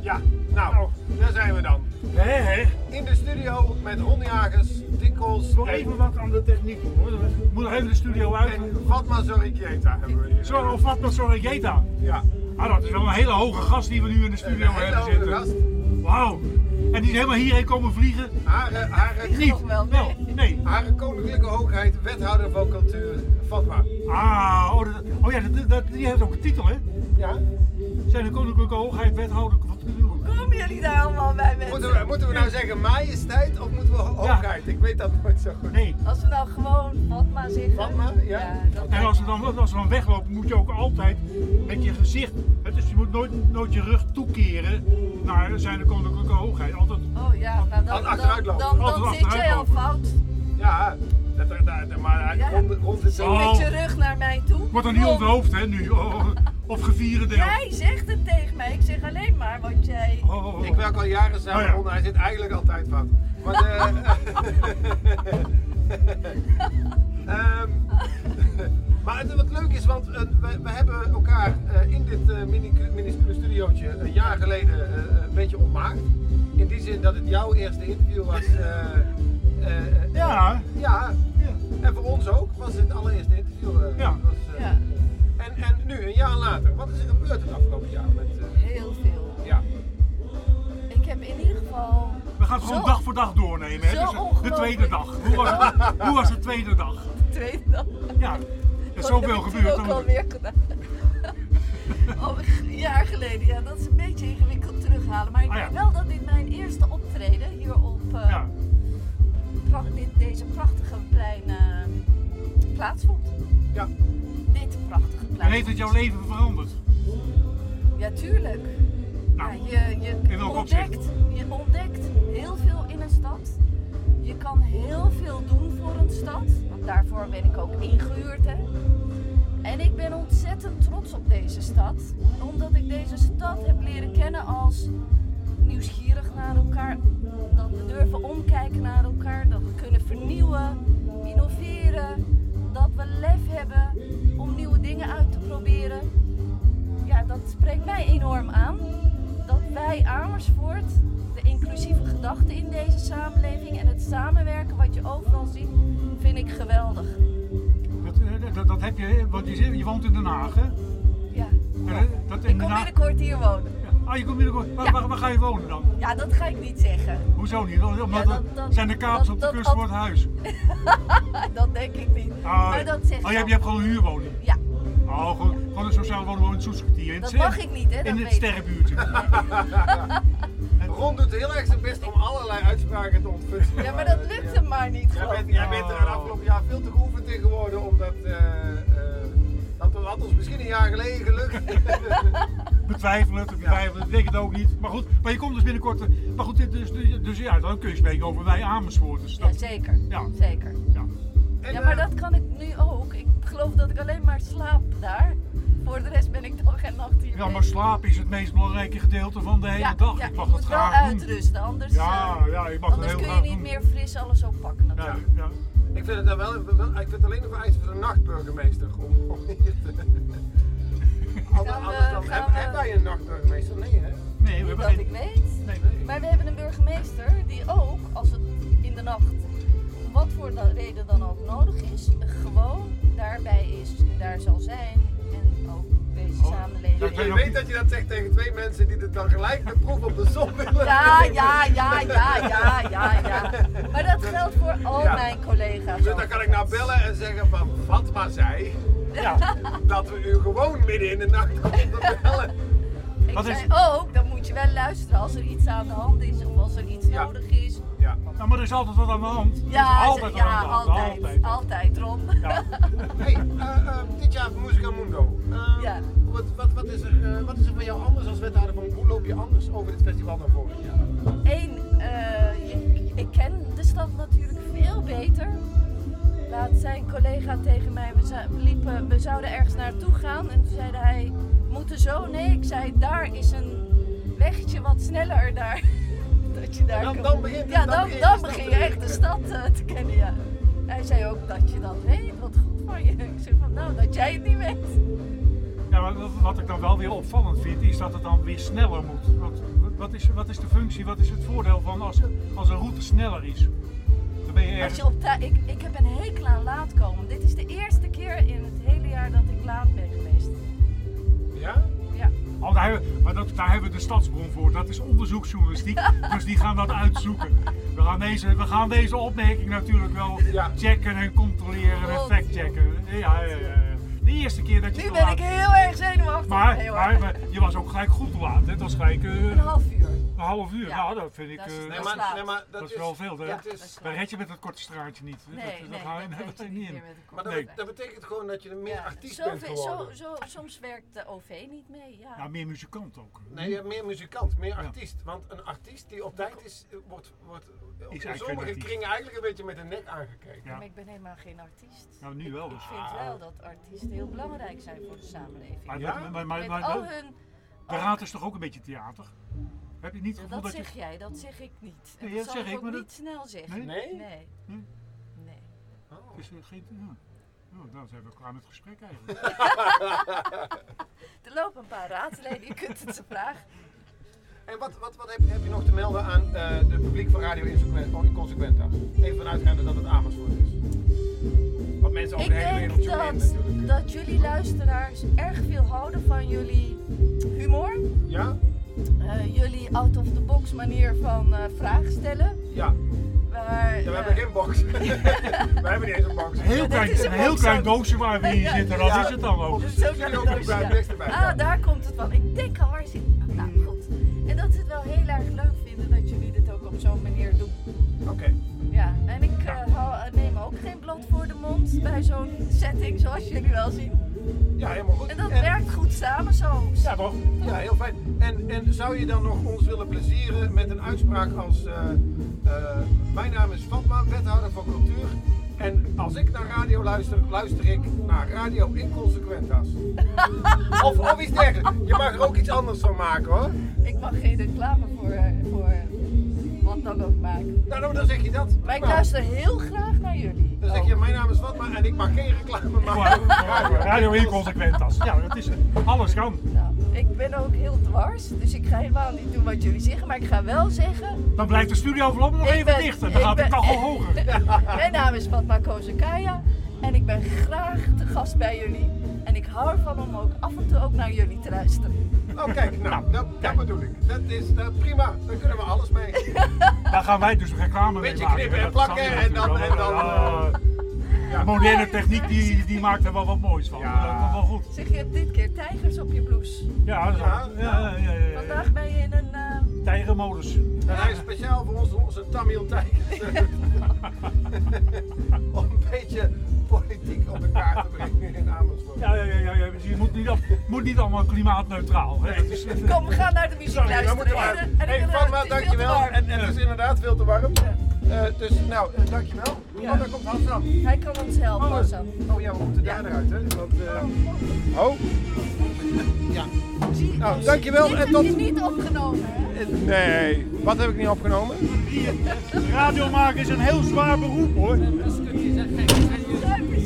Ja, nou, daar zijn we dan. Hé, hé. In de studio met Ron Jagers, Dick Kools Nog even wat aan de techniek doen hoor. We moeten even de studio uit. en Fatma Zorrikieta hebben we hier. Zorro Fatma Sorregeta. Ja, Ah, dat is wel een hele hoge gast die we nu in de een studio hele hebben hoge zitten. gast. Wauw. En die is helemaal hierheen komen vliegen. Haar, eh, haar, eh, Niet. Nog wel, Wel, nee. nee. haar koninklijke hoogheid, wethouder van cultuur, Fatma. Ah, oh, dat- oh ja, dat, dat- die heeft ook een titel hè. Ja? Zijn de koninklijke hoogheid wethouder van cultuur. Komen jullie daar allemaal bij Moeten we, mensen? moeten we nou zeggen majesteit of moeten we ho- Ja. hoogheid? Ik weet dat nooit zo goed. Nee. Als we nou gewoon Fatma zeggen. Fatma, ja. dat En als we dan, als we dan weglopen, moet je ook altijd met je gezicht. hè, Dus je moet nooit, nooit je rug toekeren naar zijn de koninklijke hoogheid. Altijd. Oh ja, nou dan, Altijd dan, achteruit dan, lopen. dan, Altijd zit achteruit jij al lopen. fout. Ja, dat, dat, dat- maar Ja. rond, rond de Zit Oh. met je rug naar mij toe. Wordt dan niet Kom. onthoofd, hè, nu? Oh, of gevierendeel. Jij zegt het tegen mij. Ik zeg alleen maar wat jij... Oh, oh, oh. Ik werk al jaren samen Oh ja. Ron, hij zit eigenlijk altijd fout. Maar eh, de- Ehm, maar het, wat leuk is, want eh, we, we hebben elkaar eh, in dit eh mini- minuscule studiootje een jaar geleden eh, een beetje ontmaakt. In die zin dat het jouw eerste interview was. eh, eh, eh, Ja. ja, Ja. en voor ons ook was het allereerste interview. eh, Ja. was, eh, Ja. en, en nu, een jaar later, wat is er gebeurd het afgelopen jaar? Met, eh, Heel veel. ja. Ik heb in ieder geval... We gaan het gewoon Zo. dag voor dag doornemen. Hè? Dus, eh, Zo de ongelooflijk. tweede dag. Hoe was, het, hoe was de tweede dag? Tweede dag. Ja, er is zoveel gebeurd. Dat heb ik toen ook Dan- alweer gedaan. Al een jaar geleden, ja. Dat is een beetje ingewikkeld terughalen. Maar ik Ah, ja. weet wel dat dit mijn eerste optreden hier op eh, Ja. pra- dit, deze prachtige plein eh, plaatsvond. ja. Dit prachtige plein. En heeft het jouw leven veranderd? Ja, tuurlijk. Nou, ja, je, je, in welk ontdekt, je ontdekt heel veel in een stad. Je kan heel veel doen voor een stad. Want daarvoor ben ik ook ingehuurd. Hè? En ik ben ontzettend trots op deze stad. Omdat ik deze stad heb leren kennen als nieuwsgierig naar elkaar. Dat we durven omkijken naar elkaar. Dat we kunnen vernieuwen, innoveren. Dat we lef hebben om nieuwe dingen uit te proberen. Ja, dat spreekt mij enorm aan. Dat wij Amersfoort de inclusieve gedachte in deze samenleving en het samenwerken wat je overal ziet, vind ik geweldig. Dat, eh, dat, dat heb je, want je, zit- je woont in Den Haag, hè? Ja. En, eh, dat Ik in Den kom Haag. binnenkort hier wonen. Ah, je komt binnenkort. Waar, Ja. waar, waar ga je wonen dan? Ja, dat ga ik niet zeggen. Hoezo niet? Omdat dat- er- dat- zijn de kaaps dat- op de dat- kust dat- voor het huis. Dat denk ik niet. Maar dat zeg ik. oh, je, hebt, je hebt gewoon een huurwoning. Ja, Oh, gewoon, gewoon een sociale woning in het Soeskwartier. in het dat ster- mag ik niet, hè? Dat In het weet ik. sterrenbuurtje. Ron doet dus heel erg zijn best om allerlei uitspraken te ontfutselen. Ja, maar dat lukt hem maar niet. Jij geloof bent, ik. jij bent er het afgelopen jaar veel te geoefend in geworden, omdat eh, eh, dat had ons misschien een jaar geleden gelukt. Betwijfel het, betwijfel het, ik denk het ook niet. Maar goed, maar je komt dus binnenkort. eh, Maar goed, dit dus, dus ja, dan kun je spreken over wij Amersfoort. Dus Ja, dat, zeker. Ja. Zeker. ja. En, Ja, maar eh, dat kan ik nu ook. Ik geloof dat ik alleen maar slaap daar. Voor de rest ben ik dag en nacht hier. Ja, maar bezig. slaap is het meest belangrijke gedeelte van de hele ja, dag. ja, ik mag je dat moet wel graag doen. uitrusten, anders, Ja, eh, ja, ik mag dat anders heel kun je graag niet doen. meer fris alles oppakken Ja, natuurlijk. ja. ik vind het dan wel, wel- ik vind het alleen nog vereist voor de nachtburgemeester. Om, om hier te... Anders, Gaan we- anders dan, eh, gaan heb, we- heb wij een nachtburgemeester? Nee, hè? Nee, we Niet hebben dat ik geen. weet. Nee, Nee. Maar we hebben een burgemeester die ook, als het in de nacht, wat voor da- reden dan ook nodig is, gewoon daarbij is, daar zal zijn en ook deze Oh, dat samenleving. weet Je ook weet niet. dat je dat zegt tegen twee mensen die het dan gelijk de proef op de zon willen Ja, nemen. ja, ja, ja, ja, ja, ja. Maar dat geldt voor al Ja. mijn collega's. Dus dan kan ik nou bellen en zeggen van Fatma zei Ja. dat we u gewoon midden in de nacht konden bellen. Ik Wat zei is- ook, dan moet je wel luisteren als er iets aan de hand is of als er iets Ja. nodig is. Ja. Nou, maar er is altijd wat aan de hand. Er Ja, is altijd ze- wat ja aan de hand. altijd, altijd, altijd. Ron. Ja. Hey, eh, eh, dit jaar Musica Mundo. Eh, Ja. wat, wat, wat, is er, eh, wat is er van jou anders als wethouder? Van, hoe loop je anders over dit festival dan vorig jaar? Eén, eh, je- ik ken de stad natuurlijk veel beter. Laat zijn collega tegen mij, we, zou- we liepen, we zouden ergens naartoe gaan. En toen zei hij, moeten zo? Nee, ik zei, daar is een weggetje wat sneller daar. dat je daar Dan- kan- dan begint- ja, dan dan, begin je de dan stad begin te je echt de leren stad eh, te kennen, ja. Hij zei ook dat je dat weet, wat goed van je. Ik zeg van, nou, dat jij het niet weet. Ja, maar wat ik dan wel weer opvallend vind, is dat het dan weer sneller moet. Want Wat is, wat is de functie, wat is het voordeel van als, als een route sneller is? Dan ben je Als ergens... je op tijd. Ik, ik heb een hekel aan laat komen. Dit is de eerste keer in het hele jaar dat ik laat ben geweest. Ja? Ja. Oh, daar, hebben we- maar dat, daar hebben we de stadsbron voor. Dat is onderzoeksjournalistiek. dus die gaan dat uitzoeken. We gaan deze, we gaan deze opmerking natuurlijk wel Ja. checken en controleren en God, factchecken. Ja, ja, ja, ja. De eerste keer dat je Nu te ben laat- ik heel erg zenuwachtig. Maar, Nee, hoor. maar, maar je was ook gelijk goed te laat. hè. Het was gelijk eh, Een half uur. een half uur. Ja. Nou, dat vind ik... Dat is- eh, dat Nee, is dat- laat. maar, nee, maar dat, Dat is wel veel, hè? Ja, Dat het is is- daar red je met dat korte straatje niet. Nee, nee, dat, dat, dat dat, weet je niet niet in. meer met de kop. maar dat, Nee. dat betekent gewoon dat je een meer Ja. artiest Zo bent veel- zo, geworden. zo, soms werkt de OV niet mee. Ja. Ja, Nou, meer muzikant ook. Nee, je hebt meer muzikant, meer Ja. artiest. Want een artiest die op tijd is, eh, wordt, wordt op eigenlijk geen sommige artiest. kringen eigenlijk een beetje met de nek aangekeken. Ja. Maar ik ben helemaal geen artiest. Nou, nu wel Ik dus. vind wel dat artiesten heel belangrijk zijn voor de samenleving. Maar, Ja? maar, maar, maar, Met maar- al hun. de raad is toch ook een beetje theater? Heb je niet het Ja, gevoel dat dat, je... zeg jij, dat zeg ik niet. En Nee, dat zal zeg ik, ook maar niet dat- snel zeggen. Nee? Nee? Nee. Hm? Nee. Oh. Het is eh, geen... Ja. Nou, dan zijn we klaar met het gesprek eigenlijk. Er lopen een paar raadsleden, je kunt het ze vragen. En wat, wat, wat heb, heb je nog te melden aan eh, de publiek van Radio Inconsequen- Inconsequenta? Even vanuitgaande dat het Amersfoort is. Wat mensen over Ik de hele wereld denk zo in dat, natuurlijk. dat jullie luisteraars erg veel houden van jullie humor. Ja? eh, jullie out-of-the-box manier van eh vragen stellen. Ja. Waar, Ja, we eh, hebben geen box. we hebben niet eens een box. Een heel dit klein, is hem een heel ook klein zo. doosje waar we in Ja. zitten, dat Ja. is het dan ook. dat Dus is ook er wel zit ook een een bruin doosje, ja. niks erbij, ja. Ah, daar komt het van. Ik denk al waar zit. Nou goed. En dat ze het wel heel erg leuk vinden dat jullie dit ook op zo'n manier doen. Oké. Ja, en ik eh, hou- neem ook geen blad voor de mond bij zo'n setting zoals jullie wel zien. Ja, helemaal goed. En dat werkt goed samen zo. Ja, toch? Ja, heel fijn. En, en zou je dan nog ons willen plezieren met een uitspraak als... eh, eh, mijn naam is Fatma, wethouder van cultuur. En als ik naar radio luister, luister ik naar Radio Inconsequenta's. of, of iets dergelijks. Je mag er ook iets anders van maken hoor. Ik mag geen reclame voor, eh, voor wat dan ook maken. Nou, nou Dus dan zeg je dat. Maar ik Prima. luister heel graag naar jullie. Oh, Dan zeg ook. je, mijn naam is Fatma en Oh. ik mag geen reclame maken. Radio inconsequent als. Ja, dat is het. Alles kan. Nou, ik ben ook heel dwars, dus ik ga helemaal niet doen wat jullie zeggen. Maar ik ga wel zeggen, Dan blijft de studio voorlopig nog Ik even ben- dicht en ik dan gaat de ben- kachel hoger. mijn naam is Fatma Kozakaya. En ik ben graag te gast bij jullie. En ik hou ervan om ook af en toe ook naar jullie te luisteren. Oh kijk, nou, dat, dat bedoel ik. Dat is dat, prima, daar kunnen we alles mee. Daar gaan wij dus reclame mee Beetje maken. knippen en Dat plakken zal en dan- natuurlijk en dan, wel. Eh, ja. Moderne techniek die, die maakt er wel wat moois van. Ja. Dat komt wel goed. Zeg, je hebt dit keer tijgers op je blouse. Ja, dat is Ja, wel- ja, ja, ja, Eh. ja, ja. Vandaag ben je in een... eh, Tijgermodus. En hij is speciaal voor ons, onze Tamil Tijgers. Om een beetje politiek op de kaart te brengen in Amersfoort. Ja, ja, ja, ja, ja. Dus je moet niet, al- moet niet allemaal klimaatneutraal. Hè. Dat is, Kom, we gaan naar de muziek Sorry, dan moet luisteren. ik maar. En, eh, en Hey, ik- Fatma, het is veel te dankjewel. warm. En, en het is inderdaad veel te warm. Eh, dus nou, eh, dankjewel. Ja. Oh, daar komt Hassan. Hij kan ons helpen, Oh, Hassan. Oh ja, we moeten daar naar uit, hè? Want, eh, Oh, Zie- nou, dankjewel Dit en heb tot. je niet opgenomen, hè? Nee, wat heb ik niet opgenomen? radio maken is een heel zwaar beroep hoor. Zuiver